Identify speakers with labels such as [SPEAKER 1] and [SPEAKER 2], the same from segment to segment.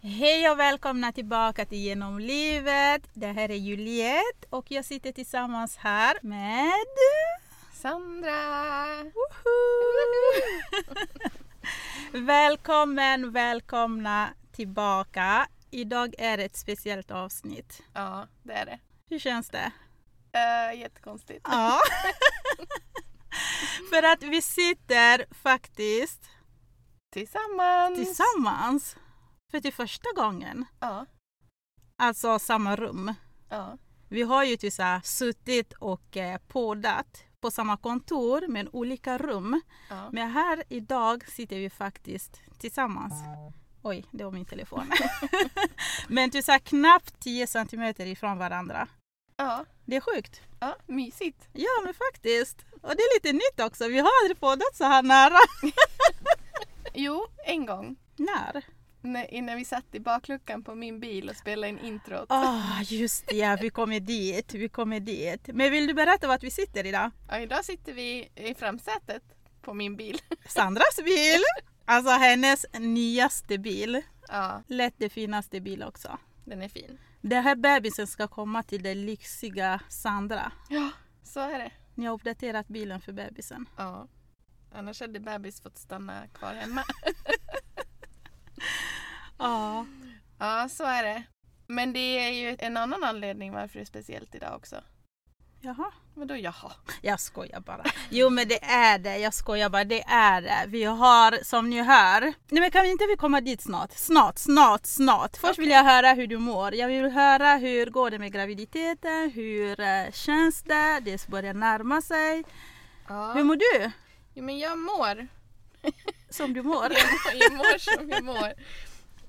[SPEAKER 1] Hej och välkomna tillbaka till Genom livet. Det här är Juliet och jag sitter tillsammans här med...
[SPEAKER 2] Sandra!
[SPEAKER 1] Välkommen, välkomna tillbaka. Idag är det ett speciellt avsnitt.
[SPEAKER 2] Ja, det är det.
[SPEAKER 1] Hur känns det?
[SPEAKER 2] Eh, jättekonstigt.
[SPEAKER 1] Ja. För att vi sitter faktiskt
[SPEAKER 2] Tillsammans!
[SPEAKER 1] tillsammans för till första gången.
[SPEAKER 2] Ja,
[SPEAKER 1] Alltså samma rum.
[SPEAKER 2] ja,
[SPEAKER 1] Vi har ju typ så här suttit och eh, poddat på samma kontor men olika rum.
[SPEAKER 2] ja.
[SPEAKER 1] Men här idag sitter vi faktiskt tillsammans. Oj, det var min telefon. men du sa knappt 10 centimeter ifrån varandra.
[SPEAKER 2] ja,
[SPEAKER 1] Det är sjukt.
[SPEAKER 2] ja. Mysigt.
[SPEAKER 1] Ja, men faktiskt. Och det är lite nytt också. Vi har aldrig poddat så här nära.
[SPEAKER 2] Jo, en gång.
[SPEAKER 1] När?
[SPEAKER 2] När, innan vi satt i bakluckan på min bil och spelade in introt.
[SPEAKER 1] Ah, just det. Ja, vi kommer dit. Vi kommer dit. Men vill du berätta vart vi sitter idag?
[SPEAKER 2] Ja, idag sitter vi i framsätet på min bil.
[SPEAKER 1] Sandras bil! Alltså hennes nyaste bil.
[SPEAKER 2] Ja,
[SPEAKER 1] Lätt det finaste bil också.
[SPEAKER 2] den är fin.
[SPEAKER 1] Den här bebisen ska komma till den lyxiga Sandra.
[SPEAKER 2] Ja, så är det.
[SPEAKER 1] Ni har uppdaterat bilen för bebisen.
[SPEAKER 2] Ja. Annars hade bebis fått stanna kvar hemma.
[SPEAKER 1] Ja.
[SPEAKER 2] Ja, så är det. Men det är ju en annan anledning varför det är speciellt idag också.
[SPEAKER 1] Jaha.
[SPEAKER 2] Vadå jaha?
[SPEAKER 1] Jag skojar bara. Jo men det är det. Jag skojar bara. Det är det. Vi har som ni hör. Nej men kan vi inte vi komma dit snart? Snart, snart, snart. Först vill jag höra hur du mår. Jag vill höra hur går det med graviditeten? Hur eh, känns det? Det börjar närma sig.
[SPEAKER 2] Ja.
[SPEAKER 1] Hur mår du?
[SPEAKER 2] Jo, men jag mår.
[SPEAKER 1] Som du mår.
[SPEAKER 2] Jag mår, jag mår som jag mår.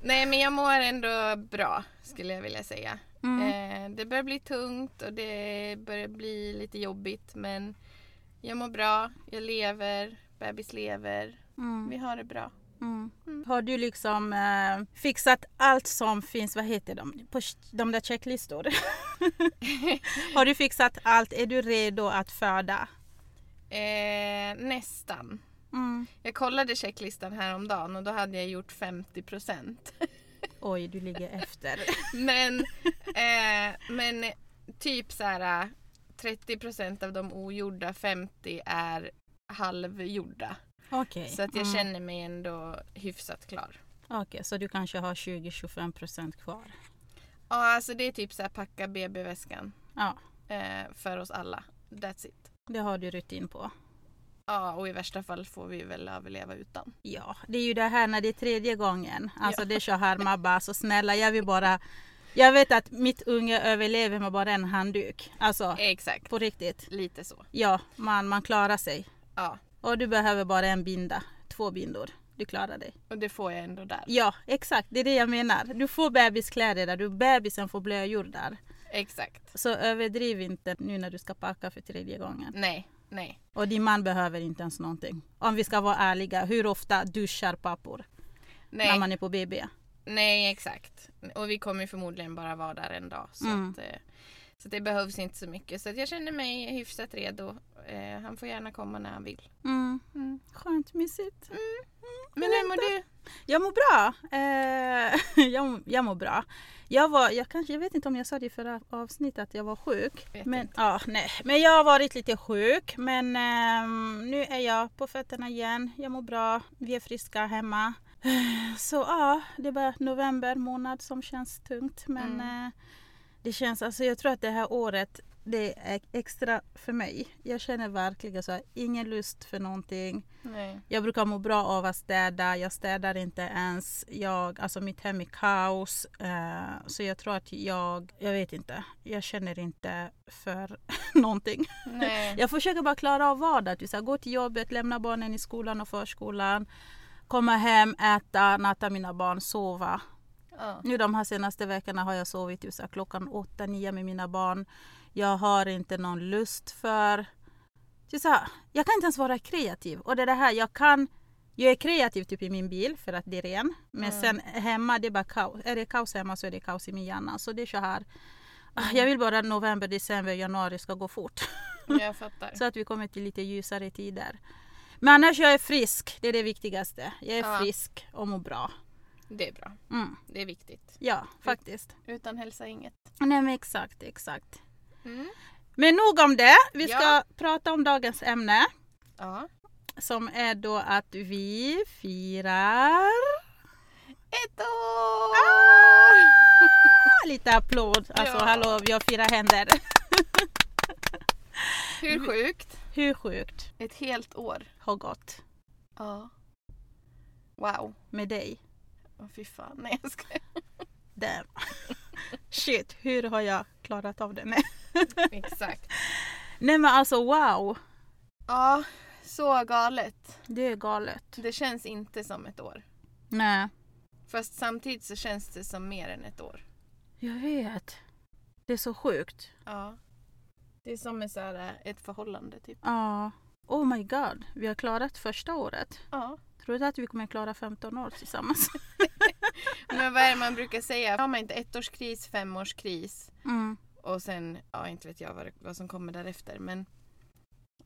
[SPEAKER 2] Nej, men jag mår ändå bra skulle jag vilja säga.
[SPEAKER 1] Mm.
[SPEAKER 2] Eh, det börjar bli tungt och det börjar bli lite jobbigt men jag mår bra, jag lever, bebis lever.
[SPEAKER 1] Mm.
[SPEAKER 2] Vi har det bra.
[SPEAKER 1] Mm.
[SPEAKER 2] Mm.
[SPEAKER 1] Har du liksom eh, fixat allt som finns, vad heter de, på ch- de där checklistor? har du fixat allt? Är du redo att föda?
[SPEAKER 2] Eh, nästan.
[SPEAKER 1] Mm.
[SPEAKER 2] Jag kollade checklistan häromdagen och då hade jag gjort 50 procent.
[SPEAKER 1] Oj, du ligger efter.
[SPEAKER 2] Men, eh, men typ så här 30 procent av de ogjorda, 50 är halvgjorda.
[SPEAKER 1] Okej.
[SPEAKER 2] Så att jag
[SPEAKER 1] Mm.
[SPEAKER 2] känner mig ändå hyfsat klar.
[SPEAKER 1] Okej, så du kanske har 20-25 procent kvar?
[SPEAKER 2] Ja, alltså det är typ så här packa BB-väskan
[SPEAKER 1] Ja,
[SPEAKER 2] eh, för oss alla. That's it.
[SPEAKER 1] det har du rutin på.
[SPEAKER 2] Ja, och i värsta fall får vi väl överleva utan.
[SPEAKER 1] Ja, det är ju det här när det är tredje gången. Alltså det är så här, man bara, så snälla jag vill bara... Jag vet att mitt unge överlever med bara en handduk. Alltså,
[SPEAKER 2] Exakt.
[SPEAKER 1] på riktigt.
[SPEAKER 2] Lite så.
[SPEAKER 1] Ja, man, man klarar sig.
[SPEAKER 2] Ja,
[SPEAKER 1] Och du behöver bara en binda, två bindor. Du klarar dig.
[SPEAKER 2] och det får jag ändå där.
[SPEAKER 1] Ja, exakt. Det är det jag menar. Du får bebiskläder där, du, bebisen får blöjor där.
[SPEAKER 2] Exakt.
[SPEAKER 1] Så överdriv inte nu när du ska packa för tredje gången.
[SPEAKER 2] Nej, nej.
[SPEAKER 1] Och din man behöver inte ens någonting. Om vi ska vara ärliga, hur ofta duschar pappor när
[SPEAKER 2] Nej,
[SPEAKER 1] man är på BB?
[SPEAKER 2] nej exakt. Och vi kommer ju förmodligen bara vara där en dag. Så,
[SPEAKER 1] Mm.
[SPEAKER 2] att, eh, så det behövs inte så mycket. Så att jag känner mig hyfsat redo. Eh, han får gärna komma när han vill.
[SPEAKER 1] Mm.
[SPEAKER 2] Mm.
[SPEAKER 1] Skönt mysigt.
[SPEAKER 2] Men hur mår du?
[SPEAKER 1] Jag mår bra. Eh, jag, jag mår bra. Jag var, jag kanske, jag vet inte om jag sa det i förra avsnittet att jag var sjuk.
[SPEAKER 2] Vet
[SPEAKER 1] Men,
[SPEAKER 2] inte.
[SPEAKER 1] ja, nej. men jag har varit lite sjuk. Men ehm, nu är jag på fötterna igen. Jag mår bra. Vi är friska hemma. Så ja, det är bara november månad som känns tungt. Men
[SPEAKER 2] Mm.
[SPEAKER 1] eh, det känns, alltså jag tror att det här året det är extra för mig. Jag känner verkligen så här, ingen lust för någonting.
[SPEAKER 2] Nej.
[SPEAKER 1] Jag brukar må bra av att städa. Jag städar inte ens. Jag, alltså mitt hem är kaos. Eh, så jag tror att jag, jag vet inte. Jag känner inte för någonting.
[SPEAKER 2] Nej.
[SPEAKER 1] Jag försöker bara klara av vardag. Du, så här, gå till jobbet, lämna barnen i skolan och förskolan. Komma hem, äta, natta mina barn, sova.
[SPEAKER 2] Ja.
[SPEAKER 1] Nu de här senaste veckorna har jag sovit just klockan åtta, nio med mina barn. Jag har inte någon lust för... Så så här, jag kan inte ens vara kreativ. Och det är det här, jag kan... Jag är kreativ typ i min bil för att det är ren. Men
[SPEAKER 2] Mm.
[SPEAKER 1] sen hemma, det är bara kaos. Är det kaos hemma så är det kaos i min hjärna. Så det är så här. ah,
[SPEAKER 2] Mm.
[SPEAKER 1] Jag vill bara november, december, januari ska gå fort.
[SPEAKER 2] Jag fattar.
[SPEAKER 1] Så att vi kommer till lite ljusare tider. Men annars jag är frisk, det är det viktigaste. Jag är
[SPEAKER 2] Ja.
[SPEAKER 1] frisk och mår bra.
[SPEAKER 2] Det är bra.
[SPEAKER 1] Mm.
[SPEAKER 2] Det är viktigt.
[SPEAKER 1] Ja, faktiskt.
[SPEAKER 2] Utan hälsa inget.
[SPEAKER 1] Nej, men exakt, exakt.
[SPEAKER 2] Mm.
[SPEAKER 1] Men nog om det. Vi ska
[SPEAKER 2] Ja.
[SPEAKER 1] prata om dagens ämne
[SPEAKER 2] Ja.
[SPEAKER 1] som är då att vi firar...
[SPEAKER 2] Ett år! Ah!
[SPEAKER 1] Lite applåd. Alltså
[SPEAKER 2] Ja.
[SPEAKER 1] hallå, vi har fyra händer.
[SPEAKER 2] Hur sjukt?
[SPEAKER 1] Hur sjukt
[SPEAKER 2] Ett helt år.
[SPEAKER 1] har gått
[SPEAKER 2] Ja. Wow.
[SPEAKER 1] med dig?
[SPEAKER 2] Åh, fy fan. Nej, jag ska...
[SPEAKER 1] Damn. Shit, hur har jag klarat av det? Nej.
[SPEAKER 2] Exakt.
[SPEAKER 1] Nej men alltså wow!
[SPEAKER 2] Ja, så galet.
[SPEAKER 1] Det är galet.
[SPEAKER 2] Det känns inte som ett år.
[SPEAKER 1] Nej.
[SPEAKER 2] Fast samtidigt så känns det som mer än ett år.
[SPEAKER 1] Jag vet. Det är så sjukt.
[SPEAKER 2] Ja. Det är som ett, så här, ett förhållande typ.
[SPEAKER 1] Ja. Oh my god, vi har klarat första året.
[SPEAKER 2] Ja.
[SPEAKER 1] Tror du att vi kommer klara 15 år tillsammans?
[SPEAKER 2] Men vad är det man brukar säga? Har man inte ettårskris, femårskris
[SPEAKER 1] Mm.
[SPEAKER 2] och sen, ja inte vet jag vad, det- vad som kommer därefter men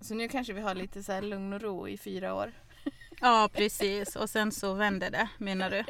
[SPEAKER 2] så nu kanske vi har lite så här lugn och ro i fyra år.
[SPEAKER 1] Ja, precis. Och sen så vänder det, menar du?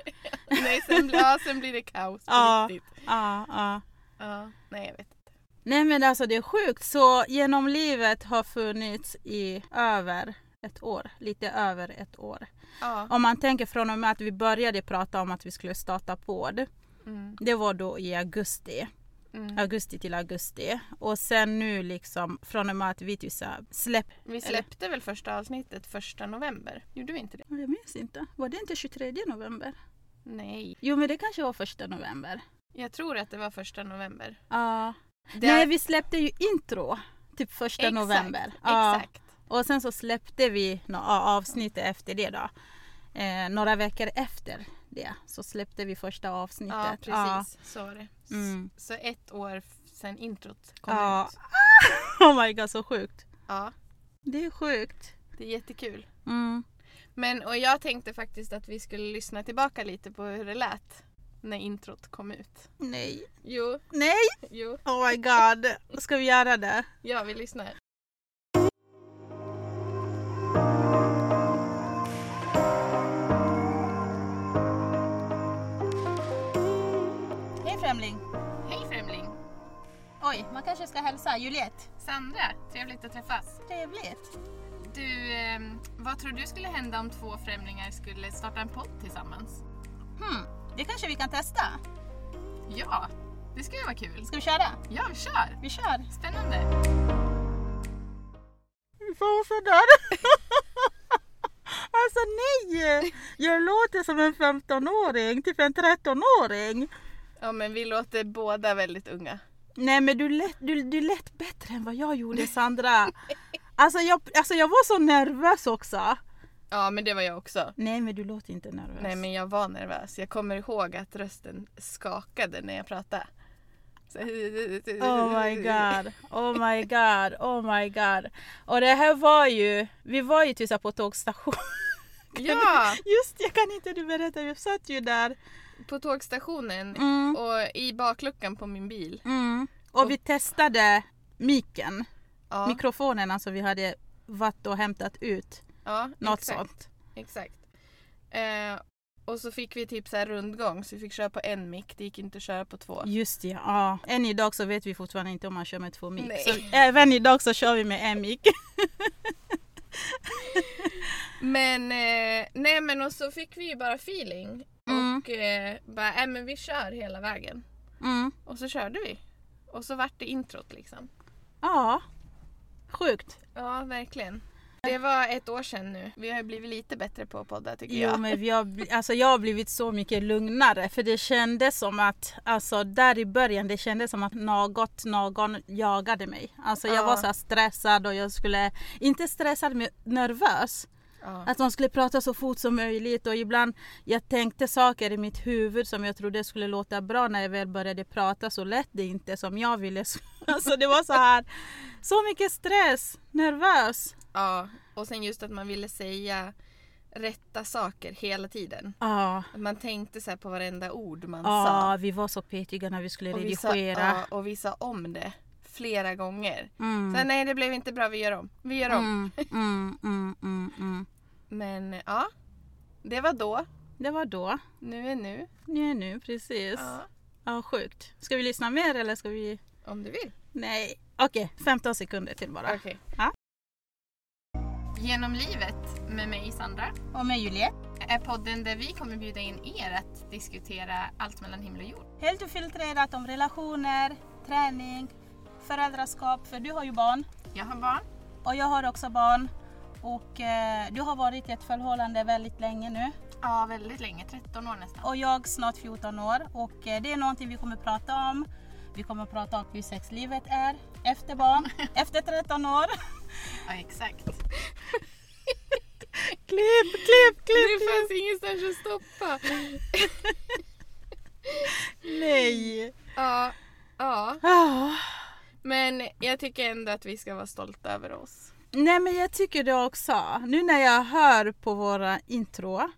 [SPEAKER 2] Nej, sen, blir- ja, sen blir det kaos på
[SPEAKER 1] Ja.
[SPEAKER 2] riktigt.
[SPEAKER 1] Ja, ja.
[SPEAKER 2] Ja, nej jag vet inte.
[SPEAKER 1] Nej men alltså det är sjukt. Så genom livet har funnits i över ett år. Lite över ett år.
[SPEAKER 2] Ja.
[SPEAKER 1] Om man tänker från och med att vi började prata om att vi skulle starta podd.
[SPEAKER 2] Mm,
[SPEAKER 1] Det var då i augusti.
[SPEAKER 2] mm.
[SPEAKER 1] Augusti till augusti. Och sen nu liksom från och med att vi typ så här, släpp.
[SPEAKER 2] Vi släppte väl första avsnittet första november? Gjorde vi inte det?
[SPEAKER 1] Jag minns inte. Var det inte 23 november?
[SPEAKER 2] Nej.
[SPEAKER 1] Jo men det kanske var första november.
[SPEAKER 2] Jag tror att det var första november.
[SPEAKER 1] Ja.
[SPEAKER 2] Det
[SPEAKER 1] Nej vi släppte ju intro. Typ första
[SPEAKER 2] Exakt,
[SPEAKER 1] november. Ja.
[SPEAKER 2] Exakt.
[SPEAKER 1] Och sen så släppte vi några avsnitt efter det då. Eh, några veckor efter det så släppte vi första avsnittet.
[SPEAKER 2] Ja,
[SPEAKER 1] Ja.
[SPEAKER 2] precis. Så var det. S-
[SPEAKER 1] Mm.
[SPEAKER 2] Så ett år f- sedan introt kom
[SPEAKER 1] Ja.
[SPEAKER 2] ut.
[SPEAKER 1] Oh my god så sjukt.
[SPEAKER 2] Ja,
[SPEAKER 1] Det är sjukt.
[SPEAKER 2] det är jättekul.
[SPEAKER 1] Mm.
[SPEAKER 2] Men och jag tänkte faktiskt att vi skulle lyssna tillbaka lite på hur det lät när introt kom ut.
[SPEAKER 1] Nej.
[SPEAKER 2] Jo,
[SPEAKER 1] Nej!
[SPEAKER 2] jo.
[SPEAKER 1] Oh my god. Ska vi göra det?
[SPEAKER 2] Ja, vi lyssnar.
[SPEAKER 1] Hej främling.
[SPEAKER 2] Hej främling!
[SPEAKER 1] Oj, man kanske ska hälsa. Juliette.
[SPEAKER 2] Sandra, trevligt att träffas.
[SPEAKER 1] Trevligt.
[SPEAKER 2] Du, ehm, vad tror du skulle hända om två främlingar skulle starta en podd tillsammans?
[SPEAKER 1] Hmm. Det kanske vi kan testa.
[SPEAKER 2] Ja, det skulle vara kul.
[SPEAKER 1] Ska vi köra?
[SPEAKER 2] Ja, vi kör!
[SPEAKER 1] Vi kör.
[SPEAKER 2] Spännande!
[SPEAKER 1] Varför där? Alltså nej! Jag låter som en 15-åring, typ en 13-åring.
[SPEAKER 2] Ja, men vi låter båda väldigt unga.
[SPEAKER 1] Nej men du lät, du, du lät bättre än vad jag gjorde Sandra. Alltså jag, alltså jag var så nervös också.
[SPEAKER 2] Ja, men det var jag också.
[SPEAKER 1] Nej men du låter inte nervös.
[SPEAKER 2] Nej men jag var nervös. Jag kommer ihåg att rösten skakade när jag pratade. Så...
[SPEAKER 1] Oh my god, oh my god, oh my god. Och det här var ju, vi var ju typ så här på tågstation.
[SPEAKER 2] Ja!
[SPEAKER 1] Just jag kan inte du berätta, vi satt ju där.
[SPEAKER 2] På tågstationen
[SPEAKER 1] Mm,
[SPEAKER 2] och i bakluckan på min bil.
[SPEAKER 1] mm. Och vi testade miken,
[SPEAKER 2] Ja,
[SPEAKER 1] mikrofonerna som alltså vi hade varit och hämtat ut.
[SPEAKER 2] ja
[SPEAKER 1] Något
[SPEAKER 2] exakt,
[SPEAKER 1] sånt.
[SPEAKER 2] Exakt. Eh, och så fick vi typ så här rundgång så vi fick köra på en mick. Det gick inte att köra på två.
[SPEAKER 1] Just det, ja. Än idag så vet vi fortfarande inte om man kör med två mick.
[SPEAKER 2] Nej.
[SPEAKER 1] Så även idag så kör vi med en mick.
[SPEAKER 2] Men eh, nej men och så fick vi ju bara feeling.
[SPEAKER 1] Mm.
[SPEAKER 2] Och eh, bara, äh, men vi kör hela vägen.
[SPEAKER 1] Mm.
[SPEAKER 2] Och så körde vi. Och så vart det introt liksom.
[SPEAKER 1] Ja, sjukt.
[SPEAKER 2] Ja, verkligen. Det var ett år sedan nu. Vi har ju blivit lite bättre på att podda tycker
[SPEAKER 1] Jo,
[SPEAKER 2] jag.
[SPEAKER 1] men vi har, bli- alltså jag har blivit så mycket lugnare för det kändes som att, alltså där i början, det kändes som att något, någon jagade mig. Alltså jag
[SPEAKER 2] Ja.
[SPEAKER 1] var så här stressad och jag skulle, inte stressad men nervös.
[SPEAKER 2] Ja.
[SPEAKER 1] Att de skulle prata så fort som möjligt och ibland jag tänkte saker i mitt huvud som jag trodde skulle låta bra när jag väl började prata så lät det inte som jag ville. Alltså det var så här, så mycket stress, nervös.
[SPEAKER 2] ja. Och sen just att man ville säga rätta saker hela tiden.
[SPEAKER 1] Ja,
[SPEAKER 2] Att Man tänkte så här på varenda ord man sa.
[SPEAKER 1] ja vi var så petiga när vi skulle
[SPEAKER 2] Och vi, sa
[SPEAKER 1] redigera.
[SPEAKER 2] ja, och vi sa om det flera gånger.
[SPEAKER 1] Mm.
[SPEAKER 2] Så nej, det blev inte bra. Vi gör om. Vi gör om.
[SPEAKER 1] Mm, mm, mm, mm, mm.
[SPEAKER 2] Men ja, det var då.
[SPEAKER 1] Det var då.
[SPEAKER 2] Nu är nu.
[SPEAKER 1] Nu är nu, precis. Ja.
[SPEAKER 2] Ja,
[SPEAKER 1] sjukt. Ska vi lyssna mer eller ska vi...
[SPEAKER 2] om du vill.
[SPEAKER 1] Nej. Okej, 15 sekunder till bara.
[SPEAKER 2] Okej.
[SPEAKER 1] Ja.
[SPEAKER 2] Genom livet med mig Sandra
[SPEAKER 1] Och med Juliette.
[SPEAKER 2] är podden där vi kommer bjuda in er att diskutera allt mellan himmel och jord.
[SPEAKER 1] Helt ofiltrerat om relationer, träning, föräldraskap. För du har ju barn
[SPEAKER 2] Jag har barn.
[SPEAKER 1] och jag har också barn. Och eh, du har varit i ett förhållande väldigt länge nu.
[SPEAKER 2] Ja, väldigt länge. 13 år nästan.
[SPEAKER 1] och jag snart 14 år och eh, det är någonting vi kommer prata om. Vi kommer prata om hur sexlivet är efter barn, efter 13 år.
[SPEAKER 2] Ja, exakt.
[SPEAKER 1] Klipp, klipp,
[SPEAKER 2] Det fanns ingenstans att stoppa.
[SPEAKER 1] Nej!
[SPEAKER 2] Ja, ja.
[SPEAKER 1] Ah.
[SPEAKER 2] Men jag tycker ändå att vi ska vara stolta över oss.
[SPEAKER 1] Nej men jag tycker det också. Nu när jag hör på våra intro.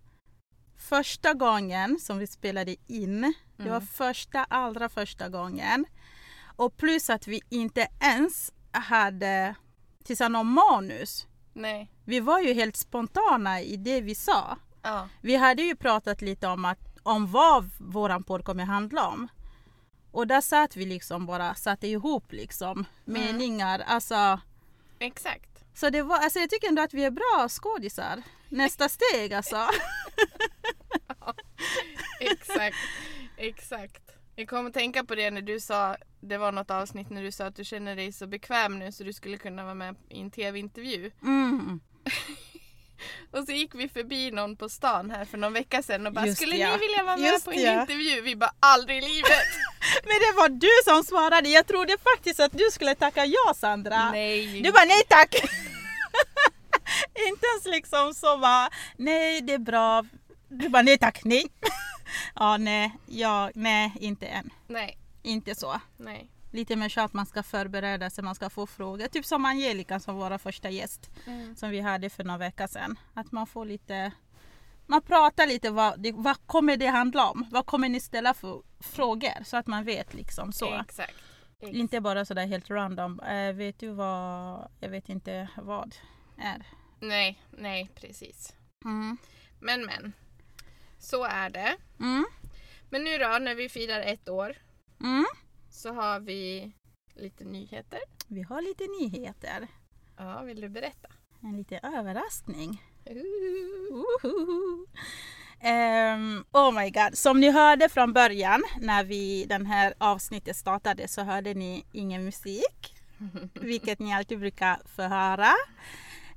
[SPEAKER 1] Första gången som vi spelade in. Det var första, allra första gången. Och plus att vi inte ens hade tillsammans någon manus.
[SPEAKER 2] Nej.
[SPEAKER 1] Vi var ju helt spontana i det vi sa.
[SPEAKER 2] Ja.
[SPEAKER 1] Vi hade ju pratat lite om, att, om vad våran podd kommer handla om. Och där satt vi liksom bara, satte ihop liksom meningar. Alltså,
[SPEAKER 2] Exakt.
[SPEAKER 1] så det var, alltså jag tycker ändå att vi är bra skådisar. Nästa steg alltså.
[SPEAKER 2] Exakt. Exakt. Jag kom att tänka på det när du sa, det var något avsnitt när du sa att du känner dig så bekväm nu så du skulle kunna vara med i en tv-intervju.
[SPEAKER 1] Mm.
[SPEAKER 2] Och så gick vi förbi någon på stan här för någon vecka sedan och bara
[SPEAKER 1] Just
[SPEAKER 2] skulle
[SPEAKER 1] ja.
[SPEAKER 2] ni vilja vara med
[SPEAKER 1] Just
[SPEAKER 2] på en
[SPEAKER 1] ja.
[SPEAKER 2] intervju? Vi bara aldrig i livet!
[SPEAKER 1] Men det var du som svarade. Jag trodde faktiskt att du skulle tacka ja Sandra.
[SPEAKER 2] Nej!
[SPEAKER 1] Du bara nej tack! Inte ens liksom så bara, nej det är bra. Du bara nej tack, nej. ja, nej, ja, nej, inte än.
[SPEAKER 2] Nej,
[SPEAKER 1] Inte så.
[SPEAKER 2] nej.
[SPEAKER 1] Lite mer så att man ska förbereda sig, man ska få frågor. Typ som Angelica som var vår första gäst
[SPEAKER 2] Mm.
[SPEAKER 1] som vi hade för några veckor sedan. Att man får lite, man pratar lite vad, det, vad kommer det handla om? Vad kommer ni ställa för frågor? Så att man vet liksom så.
[SPEAKER 2] Exakt. Ex-
[SPEAKER 1] Inte bara sådär helt random. Eh, vet du vad, jag vet inte vad är.
[SPEAKER 2] Nej, nej precis.
[SPEAKER 1] Mm.
[SPEAKER 2] Men men. Så är det.
[SPEAKER 1] Mm.
[SPEAKER 2] Men nu då när vi firar ett år
[SPEAKER 1] Mm.
[SPEAKER 2] så har vi lite nyheter.
[SPEAKER 1] Vi har lite nyheter.
[SPEAKER 2] Ja, vill du berätta?
[SPEAKER 1] En liten överraskning.
[SPEAKER 2] Uh.
[SPEAKER 1] Uhuhu. Ehm, oh my god, som ni hörde från början när vi den här avsnittet startade så hörde ni ingen musik. Vilket ni alltid brukar få höra.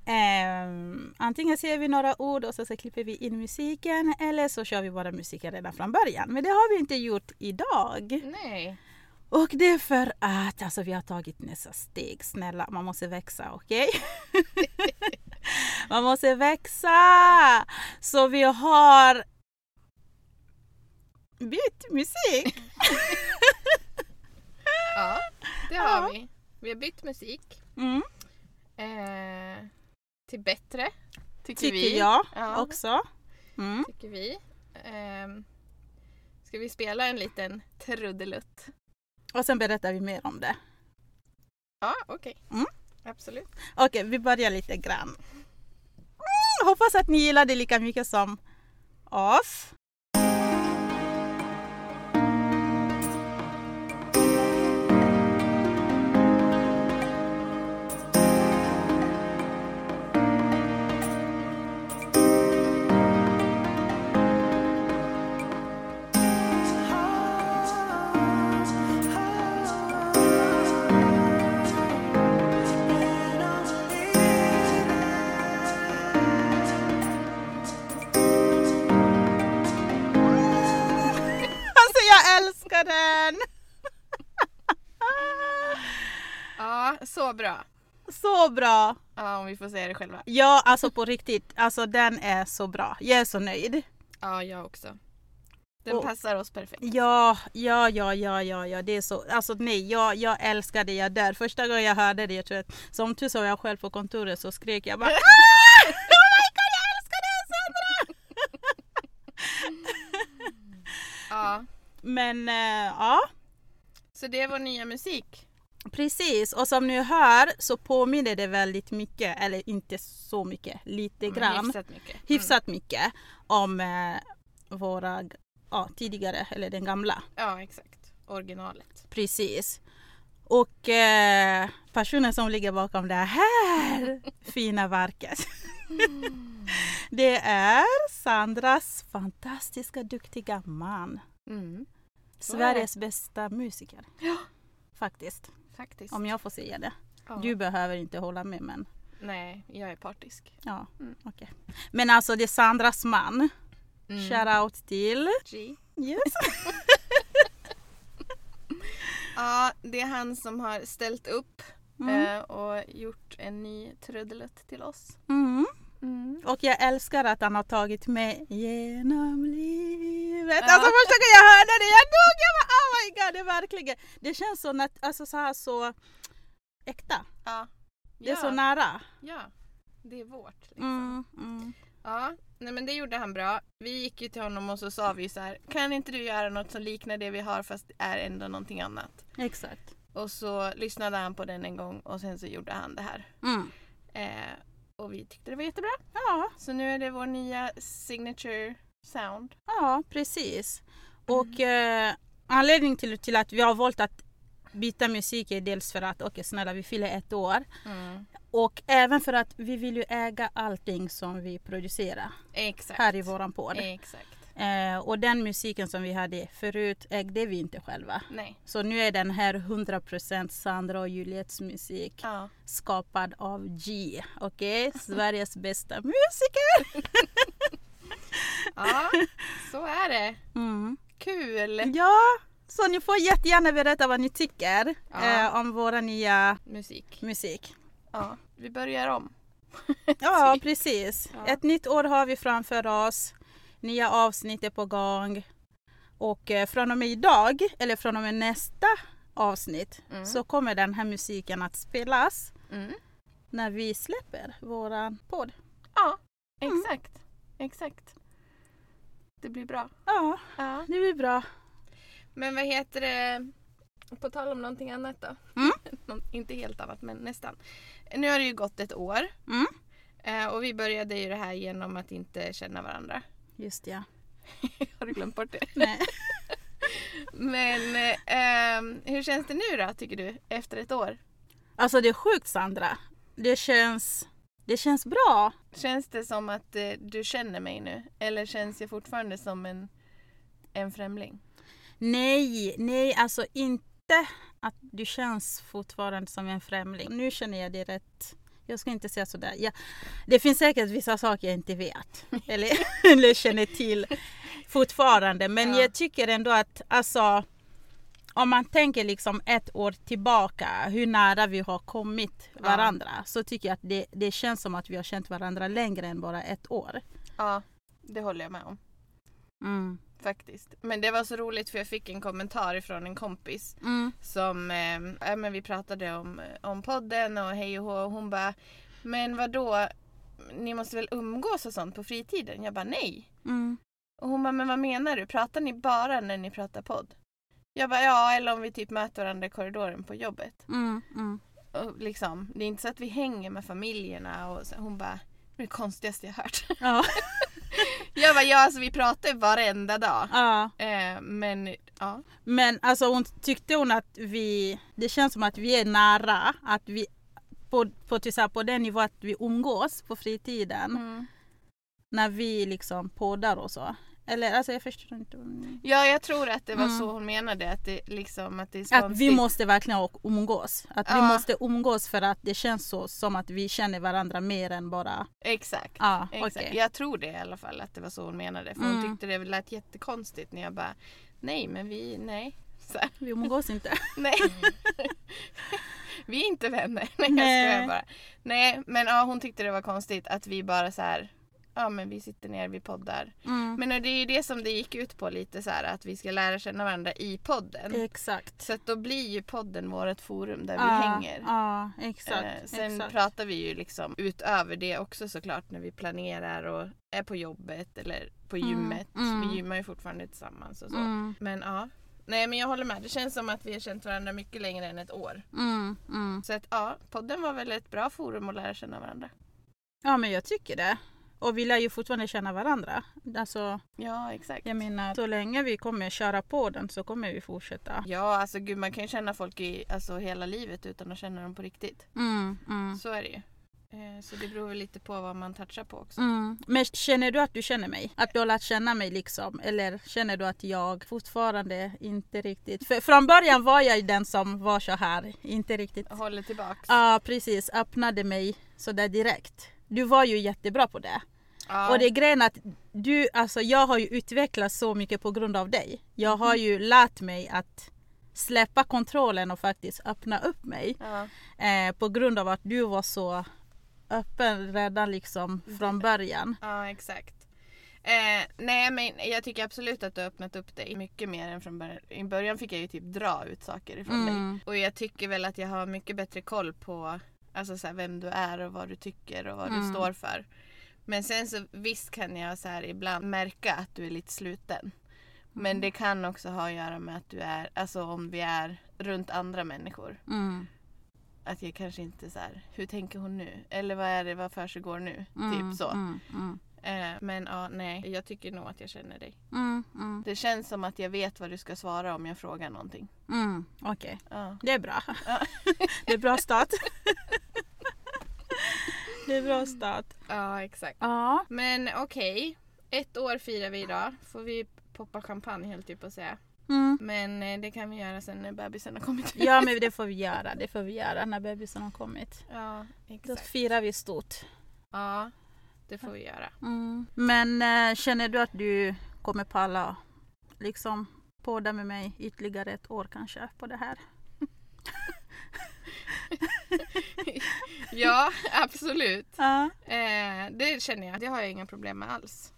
[SPEAKER 1] Ehm, antingen säger vi några ord och så, så klipper vi in musiken eller så kör vi bara musiken redan från början. Men det har vi inte gjort idag.
[SPEAKER 2] Nej.
[SPEAKER 1] Och det är för att alltså, vi har tagit nästa steg. Snälla, man måste växa, okej? man måste växa! Så vi har bytt musik.
[SPEAKER 2] Ja, det
[SPEAKER 1] Ja.
[SPEAKER 2] har vi. Vi har bytt musik
[SPEAKER 1] Mm,
[SPEAKER 2] eh, till bättre. Tycker,
[SPEAKER 1] tycker
[SPEAKER 2] vi.
[SPEAKER 1] jag
[SPEAKER 2] Ja,
[SPEAKER 1] också. Mm.
[SPEAKER 2] tycker vi. Ehm, ska vi spela en liten trudelutt?
[SPEAKER 1] Och sen berättar vi mer om det.
[SPEAKER 2] Ja, okej.
[SPEAKER 1] Mm.
[SPEAKER 2] Absolut.
[SPEAKER 1] Okej, vi börjar lite grann. Mm, hoppas att ni gillar det lika mycket som oss. Alltså jag älskar den!
[SPEAKER 2] Ja, så bra.
[SPEAKER 1] Så bra!
[SPEAKER 2] Ja, om vi får säga det själva.
[SPEAKER 1] Ja, alltså på riktigt. Alltså den är så bra. Jag är så nöjd.
[SPEAKER 2] Ja, jag också. Den
[SPEAKER 1] Och-
[SPEAKER 2] passar oss perfekt.
[SPEAKER 1] Ja, ja, ja, ja, ja, ja. det är så. Alltså nej, jag, jag älskar det. Jag dör. Första gången jag hörde det, jag tror att som tur så var jag själv på kontoret så skrek jag bara "Ah! Oh my god, jag älskar det Sandra!
[SPEAKER 2] Ja.
[SPEAKER 1] Men eh, ja,
[SPEAKER 2] Så det är vår nya musik.
[SPEAKER 1] precis. Och som ni hör så påminner det väldigt mycket, eller inte så mycket, lite
[SPEAKER 2] Men
[SPEAKER 1] grann.
[SPEAKER 2] Mm, Hyfsat mycket.
[SPEAKER 1] hyfsat mycket om eh, våra ja, tidigare, eller den gamla.
[SPEAKER 2] Ja, exakt. Originalet.
[SPEAKER 1] Precis. Och eh, personen som ligger bakom det här fina verket, det är Sandras fantastiska duktiga man.
[SPEAKER 2] Mm. Så är det.
[SPEAKER 1] Sveriges bästa musiker.
[SPEAKER 2] Ja.
[SPEAKER 1] Faktiskt,
[SPEAKER 2] Faktiskt.
[SPEAKER 1] om jag får säga det.
[SPEAKER 2] ja.
[SPEAKER 1] Du behöver inte hålla med men
[SPEAKER 2] Nej, jag är partisk.
[SPEAKER 1] ja,
[SPEAKER 2] Mm.
[SPEAKER 1] okej. Men alltså det är Sandras man.
[SPEAKER 2] Mm.
[SPEAKER 1] Shoutout till...
[SPEAKER 2] G.
[SPEAKER 1] Yes.
[SPEAKER 2] Ja, det är han som har ställt upp
[SPEAKER 1] Mm.
[SPEAKER 2] eh, och gjort en ny trudelutt till oss.
[SPEAKER 1] Mm. Och jag älskar att han har tagit mig genom livet.
[SPEAKER 2] Ja.
[SPEAKER 1] Alltså första gången jag hörde det, jag dog! Jag bara oh my god, det är verkligen. Det känns så, nat- alltså, så här så äkta.
[SPEAKER 2] Ja.
[SPEAKER 1] Det är
[SPEAKER 2] ja.
[SPEAKER 1] så nära.
[SPEAKER 2] ja, det är vårt. Liksom.
[SPEAKER 1] Mm. Mm.
[SPEAKER 2] Ja, nej men det gjorde han bra. Vi gick ju till honom och så sa vi så här, kan inte du göra något som liknar det vi har fast är ändå någonting annat?
[SPEAKER 1] Exakt.
[SPEAKER 2] Och så lyssnade han på den en gång och sen så gjorde han det här.
[SPEAKER 1] Mm.
[SPEAKER 2] Eh, och vi tyckte det var jättebra.
[SPEAKER 1] Ja.
[SPEAKER 2] Så nu är det vår nya signature sound.
[SPEAKER 1] Ja, precis.
[SPEAKER 2] Mm.
[SPEAKER 1] Och eh, anledningen till, till att vi har valt att byta musik är dels för att, okej snälla vi fyller ett år. Och även för att vi vill ju äga allting som vi producerar
[SPEAKER 2] Exakt.
[SPEAKER 1] här i våran podd.
[SPEAKER 2] Exakt.
[SPEAKER 1] Eh, och den musiken som vi hade förut ägde vi inte själva.
[SPEAKER 2] Nej.
[SPEAKER 1] Så nu är den här 100% Sandra och Juliets musik
[SPEAKER 2] Ja.
[SPEAKER 1] skapad av G. Okej? Sveriges bästa musiker!
[SPEAKER 2] ja, så är det.
[SPEAKER 1] Mm.
[SPEAKER 2] Kul
[SPEAKER 1] Ja, så ni får jättegärna berätta vad ni tycker
[SPEAKER 2] Ja.
[SPEAKER 1] eh, om våra nya
[SPEAKER 2] musik.
[SPEAKER 1] musik.
[SPEAKER 2] Ja, vi börjar om.
[SPEAKER 1] Ja, precis.
[SPEAKER 2] Ja.
[SPEAKER 1] Ett nytt år har vi framför oss. Nya avsnitt är på gång. Och eh, från och med idag, eller från och med nästa avsnitt,
[SPEAKER 2] Mm.
[SPEAKER 1] så kommer den här musiken att spelas
[SPEAKER 2] Mm.
[SPEAKER 1] när vi släpper våran podd.
[SPEAKER 2] Ja, exakt. Exakt. Det blir bra.
[SPEAKER 1] Ja,
[SPEAKER 2] Ja.
[SPEAKER 1] det blir bra.
[SPEAKER 2] Men vad heter det? På tal om någonting annat då.
[SPEAKER 1] Mm.
[SPEAKER 2] Nå- inte helt annat men nästan. Nu har det ju gått ett år
[SPEAKER 1] Mm.
[SPEAKER 2] eh, och vi började ju det här genom att inte känna varandra.
[SPEAKER 1] Just ja.
[SPEAKER 2] Har du glömt bort det?
[SPEAKER 1] Nej.
[SPEAKER 2] Men eh, ehm, hur känns det nu då tycker du? Efter ett år?
[SPEAKER 1] Alltså det är sjukt Sandra. Det känns, det känns bra.
[SPEAKER 2] Känns det som att eh, du känner mig nu? Eller känns jag fortfarande som en, en främling?
[SPEAKER 1] Nej, nej, alltså inte att du känns fortfarande som en främling. Nu känner jag det rätt. Jag ska inte säga sådär. Jag, det finns säkert vissa saker jag inte vet eller, eller känner till fortfarande. Men
[SPEAKER 2] Ja.
[SPEAKER 1] jag tycker ändå att alltså, om man tänker liksom ett år tillbaka hur nära vi har kommit varandra så tycker jag att det, det känns som att vi har känt varandra längre än bara ett år.
[SPEAKER 2] Ja, det håller jag med om.
[SPEAKER 1] Mm.
[SPEAKER 2] Faktiskt. Men det var så roligt för jag fick en kommentar ifrån en kompis
[SPEAKER 1] Mm.
[SPEAKER 2] som, eh, ja, men vi pratade om, eh, om podden och hej och hå och hon bara Men vad då? Ni måste väl umgås och sånt på fritiden? Jag bara nej.
[SPEAKER 1] Mm.
[SPEAKER 2] Och hon bara men vad menar du? Pratar ni bara när ni pratar podd? Jag bara ja, eller om vi typ möter varandra i korridoren på jobbet.
[SPEAKER 1] Mm. Mm.
[SPEAKER 2] Och liksom, det är inte så att vi hänger med familjerna och så, hon bara det är det konstigaste jag hört.
[SPEAKER 1] Ja.
[SPEAKER 2] Jag bara ja alltså vi pratar ju varenda dag.
[SPEAKER 1] ja.
[SPEAKER 2] Eh, men ja.
[SPEAKER 1] Men alltså hon tyckte hon att vi, det känns som att vi är nära, att vi på, på, till så här, på den nivå att vi umgås på fritiden när vi liksom poddar och så. Eller alltså jag förstår inte. vad hon menar.
[SPEAKER 2] Ja jag tror att det var
[SPEAKER 1] Mm.
[SPEAKER 2] så hon menade att det liksom att det är så
[SPEAKER 1] Att vi
[SPEAKER 2] konstigt.
[SPEAKER 1] måste verkligen och- umgås. Att vi
[SPEAKER 2] Ja.
[SPEAKER 1] måste umgås för att det känns så som att vi känner varandra mer än bara...
[SPEAKER 2] Exakt.
[SPEAKER 1] Ja,
[SPEAKER 2] Exakt.
[SPEAKER 1] Ah, okej.
[SPEAKER 2] Jag tror det i alla fall att det var så hon menade. För hon
[SPEAKER 1] Mm.
[SPEAKER 2] tyckte det lät jättekonstigt när jag bara nej men vi, nej. Så, här,
[SPEAKER 1] Vi umgås inte.
[SPEAKER 2] nej. vi är inte vänner. Nej,
[SPEAKER 1] Nej.
[SPEAKER 2] jag skojar bara. Nej men ja, hon tyckte det var konstigt att vi bara så här ja men vi sitter ner, vi poddar.
[SPEAKER 1] Mm.
[SPEAKER 2] Men och det är ju det som det gick ut på lite så här att vi ska lära känna varandra i podden.
[SPEAKER 1] Exakt.
[SPEAKER 2] Så att då blir ju podden vårt forum där vi
[SPEAKER 1] Ja,
[SPEAKER 2] hänger.
[SPEAKER 1] Ja,
[SPEAKER 2] Eh,
[SPEAKER 1] exakt.
[SPEAKER 2] sen
[SPEAKER 1] exakt.
[SPEAKER 2] pratar vi ju liksom utöver det också såklart när vi planerar och är på jobbet eller på
[SPEAKER 1] Mm,
[SPEAKER 2] gymmet.
[SPEAKER 1] mm.
[SPEAKER 2] Vi gymmar ju fortfarande tillsammans och så.
[SPEAKER 1] Mm,
[SPEAKER 2] Men ja. Nej men jag håller med. Det känns som att vi har känt varandra mycket längre än ett år.
[SPEAKER 1] mm, mm.
[SPEAKER 2] Så att ja, podden var väl ett bra forum att lära känna varandra.
[SPEAKER 1] Ja men jag tycker det. Och vi lär ju fortfarande känna varandra. Alltså,
[SPEAKER 2] Ja, exakt.
[SPEAKER 1] jag menar, så länge vi kommer köra på den så kommer vi fortsätta.
[SPEAKER 2] Ja, alltså gud man kan ju känna folk i alltså, hela livet utan att känna dem på riktigt.
[SPEAKER 1] Mm, mm.
[SPEAKER 2] Så är det ju. Eh, Så det beror väl lite på vad man touchar på också.
[SPEAKER 1] Mm. Men känner du att du känner mig? Att du har lärt känna mig liksom? Eller känner du att jag fortfarande inte riktigt... För från början var jag ju den som var så här, inte riktigt. Mm. Ja
[SPEAKER 2] Håller tillbaks.
[SPEAKER 1] precis, öppnade mig sådär direkt. Du var ju jättebra på det.
[SPEAKER 2] Ja.
[SPEAKER 1] Och det är grejen att du, alltså jag har ju utvecklats så mycket på grund av dig. Jag har ju lärt mig att släppa kontrollen och faktiskt öppna upp mig.
[SPEAKER 2] Ja.
[SPEAKER 1] Eh, på grund av att du var så öppen redan liksom från början.
[SPEAKER 2] Ja, exakt. Eh, nej, men jag tycker absolut att du har öppnat upp dig mycket mer än från början. I början fick jag ju typ dra ut saker ifrån
[SPEAKER 1] Mm.
[SPEAKER 2] dig. Och jag tycker väl att jag har mycket bättre koll på alltså, så här, vem du är och vad du tycker och vad du
[SPEAKER 1] Mm.
[SPEAKER 2] står för. Men sen så visst kan jag så här ibland märka att du är lite sluten.
[SPEAKER 1] Mm.
[SPEAKER 2] Men det kan också ha att göra med att du är, alltså om vi är runt andra människor.
[SPEAKER 1] Mm.
[SPEAKER 2] Att jag kanske inte så här, hur tänker hon nu? Eller vad är det, vad försiggår nu? Typ så.
[SPEAKER 1] Mm, mm,
[SPEAKER 2] Eh, men ja, nej. Jag tycker nog att jag känner dig.
[SPEAKER 1] mm, mm,
[SPEAKER 2] Det känns som att jag vet vad du ska svara om jag frågar någonting.
[SPEAKER 1] mm. Okej,
[SPEAKER 2] Ja.
[SPEAKER 1] det är bra.
[SPEAKER 2] Ja.
[SPEAKER 1] det är bra start. det är bra start.
[SPEAKER 2] Ja, exakt.
[SPEAKER 1] Ja.
[SPEAKER 2] Men okej. Ett år firar vi idag. Får vi poppa champagne helt typ och säga.
[SPEAKER 1] Mm.
[SPEAKER 2] Men eh, det kan vi göra sen när bebisen har kommit ut.
[SPEAKER 1] ja, men det får vi göra. Det får vi göra när bebisen har kommit.
[SPEAKER 2] Ja,
[SPEAKER 1] Då
[SPEAKER 2] exakt.
[SPEAKER 1] firar vi stort.
[SPEAKER 2] Ja, det får vi göra.
[SPEAKER 1] Men eh, känner du att du kommer palla liksom podda med mig ytterligare ett år kanske på det här?
[SPEAKER 2] Ja, absolut.
[SPEAKER 1] Ja.
[SPEAKER 2] Eh, det känner jag. Det har jag inga problem med alls.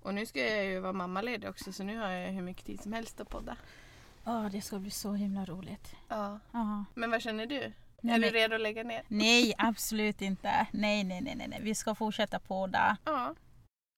[SPEAKER 2] Och nu ska jag ju vara mammaledig också så nu har jag ju hur mycket tid som helst att podda.
[SPEAKER 1] det ska bli så himla roligt.
[SPEAKER 2] Ja.
[SPEAKER 1] Ja.
[SPEAKER 2] Men vad känner du?
[SPEAKER 1] Nej,
[SPEAKER 2] är
[SPEAKER 1] men-
[SPEAKER 2] du redo att lägga ner?
[SPEAKER 1] Nej, absolut inte. Nej, nej, nej, nej, nej. Vi ska fortsätta podda.
[SPEAKER 2] Ja.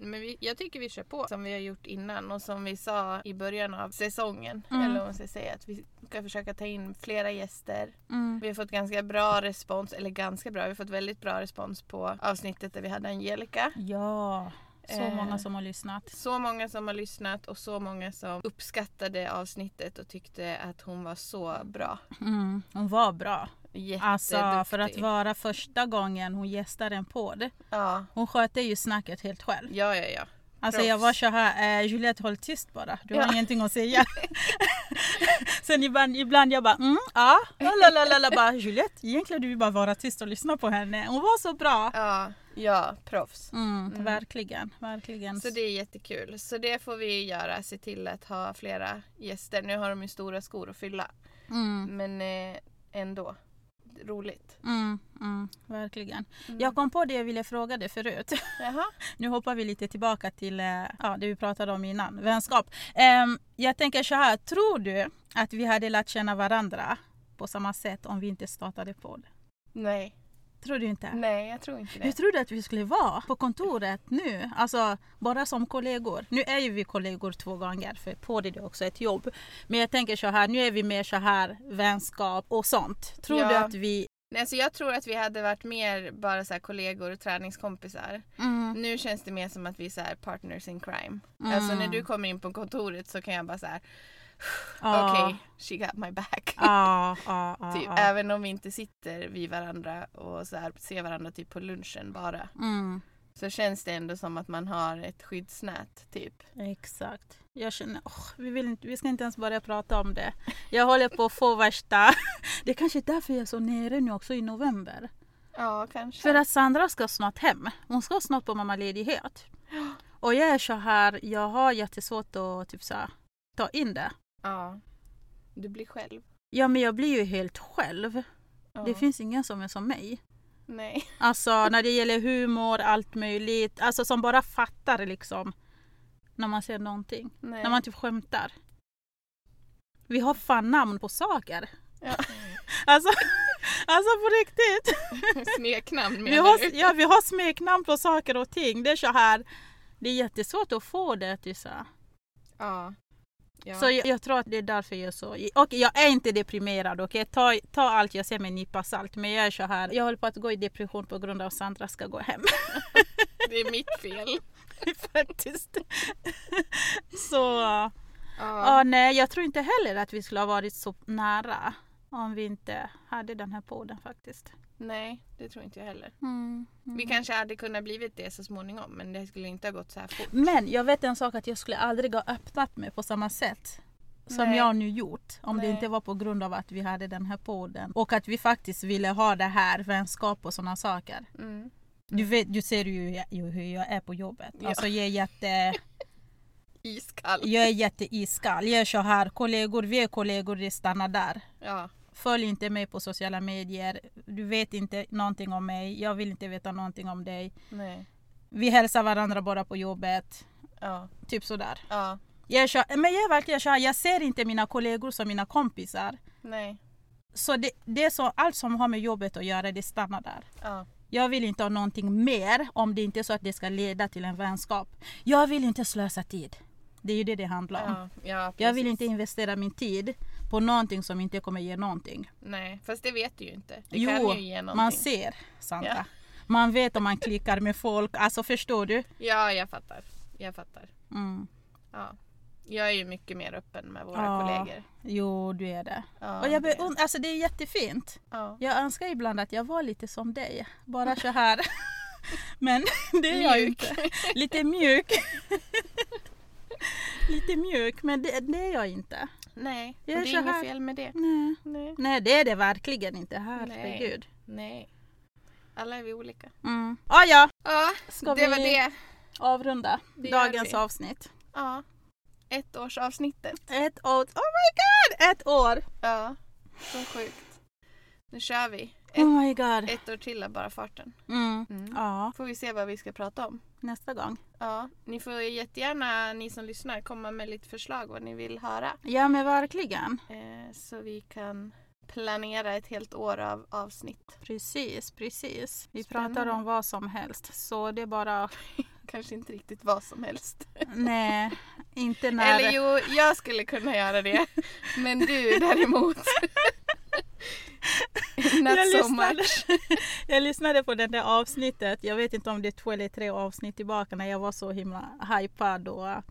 [SPEAKER 2] Men vi, jag tycker vi kör på som vi har gjort innan och som vi sa i början av säsongen.
[SPEAKER 1] Mm.
[SPEAKER 2] Eller om man ska säga att vi ska försöka ta in flera gäster.
[SPEAKER 1] Mm.
[SPEAKER 2] Vi har fått ganska bra respons, eller ganska bra, vi har fått väldigt bra respons på avsnittet där vi hade Angelica.
[SPEAKER 1] Ja, så
[SPEAKER 2] Eh.
[SPEAKER 1] många som har lyssnat.
[SPEAKER 2] Så många som har lyssnat och så många som uppskattade avsnittet och tyckte att hon var så bra.
[SPEAKER 1] Mm. Hon var bra.
[SPEAKER 2] Jätteduktig.
[SPEAKER 1] Alltså för att vara första gången hon gästade en podd.
[SPEAKER 2] Ja,
[SPEAKER 1] Hon skötte ju snacket helt själv.
[SPEAKER 2] ja, ja. ja.
[SPEAKER 1] Alltså jag var så här, eh, Juliette håll tyst bara, du har
[SPEAKER 2] Ja.
[SPEAKER 1] ingenting att säga. Sen ibland, ibland jag bara, mm, ja, lalalala, bara Juliette, egentligen du vill bara vara tyst och lyssna på henne. Hon var så bra.
[SPEAKER 2] Ja, ja, proffs.
[SPEAKER 1] Mm,
[SPEAKER 2] Mm.
[SPEAKER 1] Verkligen, verkligen.
[SPEAKER 2] Så det är jättekul. Så det får vi göra, se till att ha flera gäster. Nu har de ju stora skor att fylla.
[SPEAKER 1] Mm,
[SPEAKER 2] Men eh, ändå, roligt.
[SPEAKER 1] mm, mm, verkligen.
[SPEAKER 2] Mm.
[SPEAKER 1] Jag kom på det jag ville fråga dig förut.
[SPEAKER 2] Jaha,
[SPEAKER 1] Nu hoppar vi lite tillbaka till eh, ja, det vi pratade om innan, vänskap. Ehm, jag tänker så här, tror du att vi hade lärt känna varandra på samma sätt om vi inte startade podd?
[SPEAKER 2] nej.
[SPEAKER 1] Tror du inte?
[SPEAKER 2] Nej, jag tror inte
[SPEAKER 1] Hur
[SPEAKER 2] det.
[SPEAKER 1] tror du att vi skulle vara på kontoret nu? Alltså bara som kollegor. Nu är ju vi kollegor två gånger för podd är det också ett jobb. Men jag tänker så här, nu är vi mer så här vänskap och sånt. Tror
[SPEAKER 2] Ja.
[SPEAKER 1] du att vi...
[SPEAKER 2] Nej, så jag tror att vi hade varit mer bara så här kollegor och träningskompisar.
[SPEAKER 1] Mm,
[SPEAKER 2] Nu känns det mer som att vi är så här partners in crime.
[SPEAKER 1] Mm.
[SPEAKER 2] Alltså när du kommer in på kontoret så kan jag bara så här,
[SPEAKER 1] ja.
[SPEAKER 2] okej, she got my back.
[SPEAKER 1] Ja, ja, ja,
[SPEAKER 2] Typ,
[SPEAKER 1] ja.
[SPEAKER 2] Även om vi inte sitter vid varandra och så här, ser varandra typ på lunchen bara.
[SPEAKER 1] Mm.
[SPEAKER 2] så känns det ändå som att man har ett skyddsnät typ.
[SPEAKER 1] Exakt. Jag känner, åh, vi, vill inte, vi ska inte ens börja prata om det. Jag håller på att få värsta... Det är kanske är därför jag är så nere nu också i november.
[SPEAKER 2] Ja, kanske.
[SPEAKER 1] För att Sandra ska snart hem. Hon ska snart på mammaledighet. Och jag är så här, jag har jättesvårt att typ så här, ta in det.
[SPEAKER 2] Ja. Du blir själv.
[SPEAKER 1] Ja men jag blir ju helt själv.
[SPEAKER 2] Ja.
[SPEAKER 1] Det finns ingen som är som mig.
[SPEAKER 2] Nej.
[SPEAKER 1] Alltså när det gäller humor, allt möjligt. Alltså som bara fattar liksom. När man ser någonting.
[SPEAKER 2] Nej.
[SPEAKER 1] När man typ skämtar. Vi har fan namn på saker.
[SPEAKER 2] Ja.
[SPEAKER 1] Alltså, alltså på riktigt.
[SPEAKER 2] Smeknamn
[SPEAKER 1] Vi
[SPEAKER 2] menar
[SPEAKER 1] har,
[SPEAKER 2] du?
[SPEAKER 1] ja, vi har smeknamn på saker och ting. Det är så här. Det är jättesvårt att få det till så. här.
[SPEAKER 2] Ja. ja.
[SPEAKER 1] Så jag, jag tror att det är därför jag är så. Och jag är inte deprimerad. Okay? Ta, ta allt jag säger med en nypa salt. Men jag är så här. Jag håller på att gå i depression på grund av att Sandra ska gå hem.
[SPEAKER 2] det är mitt fel.
[SPEAKER 1] faktiskt. så
[SPEAKER 2] Ja.
[SPEAKER 1] ja, nej, jag tror inte heller att vi skulle ha varit så nära om vi inte hade den här podden faktiskt.
[SPEAKER 2] Nej, det tror inte jag heller.
[SPEAKER 1] Mm, mm.
[SPEAKER 2] Vi kanske hade kunnat blivit det så småningom men det skulle inte ha gått så här fort.
[SPEAKER 1] Men jag vet en sak att jag skulle aldrig ha öppnat mig på samma sätt som
[SPEAKER 2] Nej.
[SPEAKER 1] jag nu gjort om det
[SPEAKER 2] Nej.
[SPEAKER 1] inte var på grund av att vi hade den här podden och att vi faktiskt ville ha det här, vänskap och sådana saker.
[SPEAKER 2] Mm.
[SPEAKER 1] Du, vet, du ser ju hur jag- ju hur jag är på jobbet.
[SPEAKER 2] Ja.
[SPEAKER 1] Alltså jag är jätte...
[SPEAKER 2] Iskall.
[SPEAKER 1] Jag är jätteiskall. Jag är så här, kollegor, vi är kollegor, det stannar där.
[SPEAKER 2] Ja.
[SPEAKER 1] Följ inte mig på sociala medier. Du vet inte någonting om mig. Jag vill inte veta någonting om dig.
[SPEAKER 2] Nej.
[SPEAKER 1] Vi hälsar varandra bara på jobbet.
[SPEAKER 2] Ja.
[SPEAKER 1] Typ sådär.
[SPEAKER 2] Ja.
[SPEAKER 1] Jag är, så- men jag är verkligen så här, jag ser inte mina kollegor som mina kompisar.
[SPEAKER 2] Nej.
[SPEAKER 1] Så det, det är så, allt som har med jobbet att göra, det stannar där.
[SPEAKER 2] Ja.
[SPEAKER 1] Jag vill inte ha någonting mer om det inte är så att det ska leda till en vänskap. Jag vill inte slösa tid. Det är ju det det handlar om.
[SPEAKER 2] Ja. ja
[SPEAKER 1] Jag vill
[SPEAKER 2] precis.
[SPEAKER 1] inte investera min tid på någonting som inte kommer ge någonting.
[SPEAKER 2] Nej, fast det vet du ju inte. Det
[SPEAKER 1] jo,
[SPEAKER 2] kan ju ge någonting.
[SPEAKER 1] man ser Sandra.
[SPEAKER 2] Ja.
[SPEAKER 1] Man vet om man klickar med folk, alltså förstår du?
[SPEAKER 2] Ja, jag fattar. Jag fattar.
[SPEAKER 1] Mm.
[SPEAKER 2] Ja. Jag är ju mycket mer öppen med våra
[SPEAKER 1] Ja.
[SPEAKER 2] kollegor.
[SPEAKER 1] Jo, du är det.
[SPEAKER 2] Ja,
[SPEAKER 1] Och jag
[SPEAKER 2] det-
[SPEAKER 1] beund- alltså det är jättefint.
[SPEAKER 2] ja.
[SPEAKER 1] Jag önskar ibland att jag var lite som dig, bara så här. Men det är jag ju
[SPEAKER 2] Mjuk.
[SPEAKER 1] inte. Lite mjuk. Lite mjuk, men det, det är jag inte.
[SPEAKER 2] Nej, och det
[SPEAKER 1] Jag är så
[SPEAKER 2] är inget
[SPEAKER 1] här.
[SPEAKER 2] fel med det.
[SPEAKER 1] Nej.
[SPEAKER 2] Nej.
[SPEAKER 1] Nej, det är det verkligen inte. Herregud.
[SPEAKER 2] Nej. Alla är vi olika.
[SPEAKER 1] Mm. Ah, ja,
[SPEAKER 2] Ja,
[SPEAKER 1] Ska
[SPEAKER 2] det var
[SPEAKER 1] vi-
[SPEAKER 2] det.
[SPEAKER 1] avrunda
[SPEAKER 2] Det gör
[SPEAKER 1] dagens
[SPEAKER 2] vi.
[SPEAKER 1] avsnitt.
[SPEAKER 2] Ja. Ett års avsnittet.
[SPEAKER 1] Ett år. Oh my god! Ett år!
[SPEAKER 2] Ja, så sjukt. Nu kör vi. Ett,
[SPEAKER 1] Oh my god.
[SPEAKER 2] ett år till av bara farten.
[SPEAKER 1] Mm.
[SPEAKER 2] Mm.
[SPEAKER 1] Ja,
[SPEAKER 2] Får vi se vad vi ska prata om.
[SPEAKER 1] nästa gång.
[SPEAKER 2] Ja, ni får jättegärna, ni som lyssnar, komma med lite förslag vad ni vill höra.
[SPEAKER 1] Ja men verkligen.
[SPEAKER 2] Eh, så vi kan planera ett helt år av avsnitt.
[SPEAKER 1] Precis, precis. Vi
[SPEAKER 2] Spännande.
[SPEAKER 1] pratar om vad som helst. Så det är bara,
[SPEAKER 2] Kanske inte riktigt vad som helst.
[SPEAKER 1] nej, inte när...
[SPEAKER 2] Eller jo, jag skulle kunna göra det. Men du däremot. Not
[SPEAKER 1] jag,
[SPEAKER 2] so much.
[SPEAKER 1] lyssnade, jag lyssnade på det där avsnittet, jag vet inte om det är två eller tre avsnitt tillbaka när jag var så himla hypad och,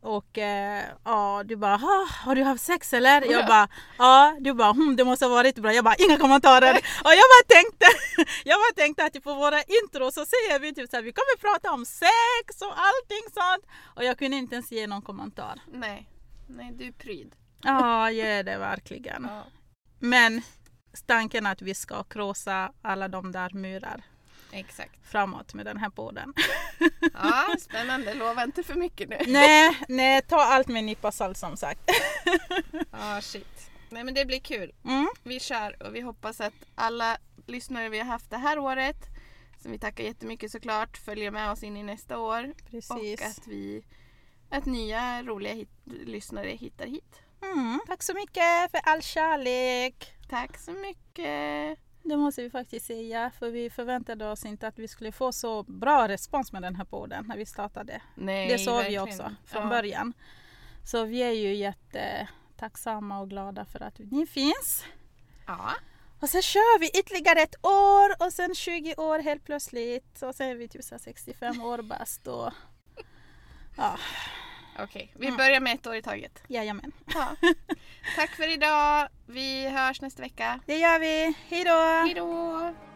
[SPEAKER 1] och eh, ja, du bara "Ha, har du haft sex eller? Jag bara ja, du bara hm, det måste ha varit bra. Jag bara inga kommentarer. Och jag bara tänkte, jag bara tänkte att på våra intro så säger vi typ så här, vi kommer prata om sex och allting sånt. Och jag kunde inte ens ge någon kommentar.
[SPEAKER 2] Nej. Nej, du är pryd.
[SPEAKER 1] Ja, jag är det verkligen.
[SPEAKER 2] Ja.
[SPEAKER 1] Men tanken att vi ska krossa alla de där murar
[SPEAKER 2] Exakt.
[SPEAKER 1] framåt med den här podden.
[SPEAKER 2] Ja, spännande. Lova inte för mycket nu.
[SPEAKER 1] nej, nej, ta allt med en nypa salt som sagt.
[SPEAKER 2] Ja, shit. Nej, men det blir kul.
[SPEAKER 1] Mm.
[SPEAKER 2] Vi kör och vi hoppas att alla lyssnare vi har haft det här året, som vi tackar jättemycket såklart, följer med oss in i nästa år. Och
[SPEAKER 1] Precis.
[SPEAKER 2] att, vi, att nya roliga hit, lyssnare hittar hit.
[SPEAKER 1] Mm. Tack så mycket för all kärlek.
[SPEAKER 2] Tack så mycket!
[SPEAKER 1] Det måste vi faktiskt säga, för vi förväntade oss inte att vi skulle få så bra respons med den här podden när vi startade.
[SPEAKER 2] Nej,
[SPEAKER 1] det såg vi
[SPEAKER 2] verkligen.
[SPEAKER 1] också från
[SPEAKER 2] Ja.
[SPEAKER 1] början. Så vi är ju jättetacksamma och glada för att ni finns.
[SPEAKER 2] Ja,
[SPEAKER 1] Och sen kör vi ytterligare ett år och sen 20 år helt plötsligt och sen är vi typ så här 65 år bast och ja,
[SPEAKER 2] okej. Vi börjar med ett år i taget.
[SPEAKER 1] jajamän.
[SPEAKER 2] Mm. Ja. Tack för idag! Vi hörs nästa vecka.
[SPEAKER 1] Det gör vi. Hej då!
[SPEAKER 2] Hej då!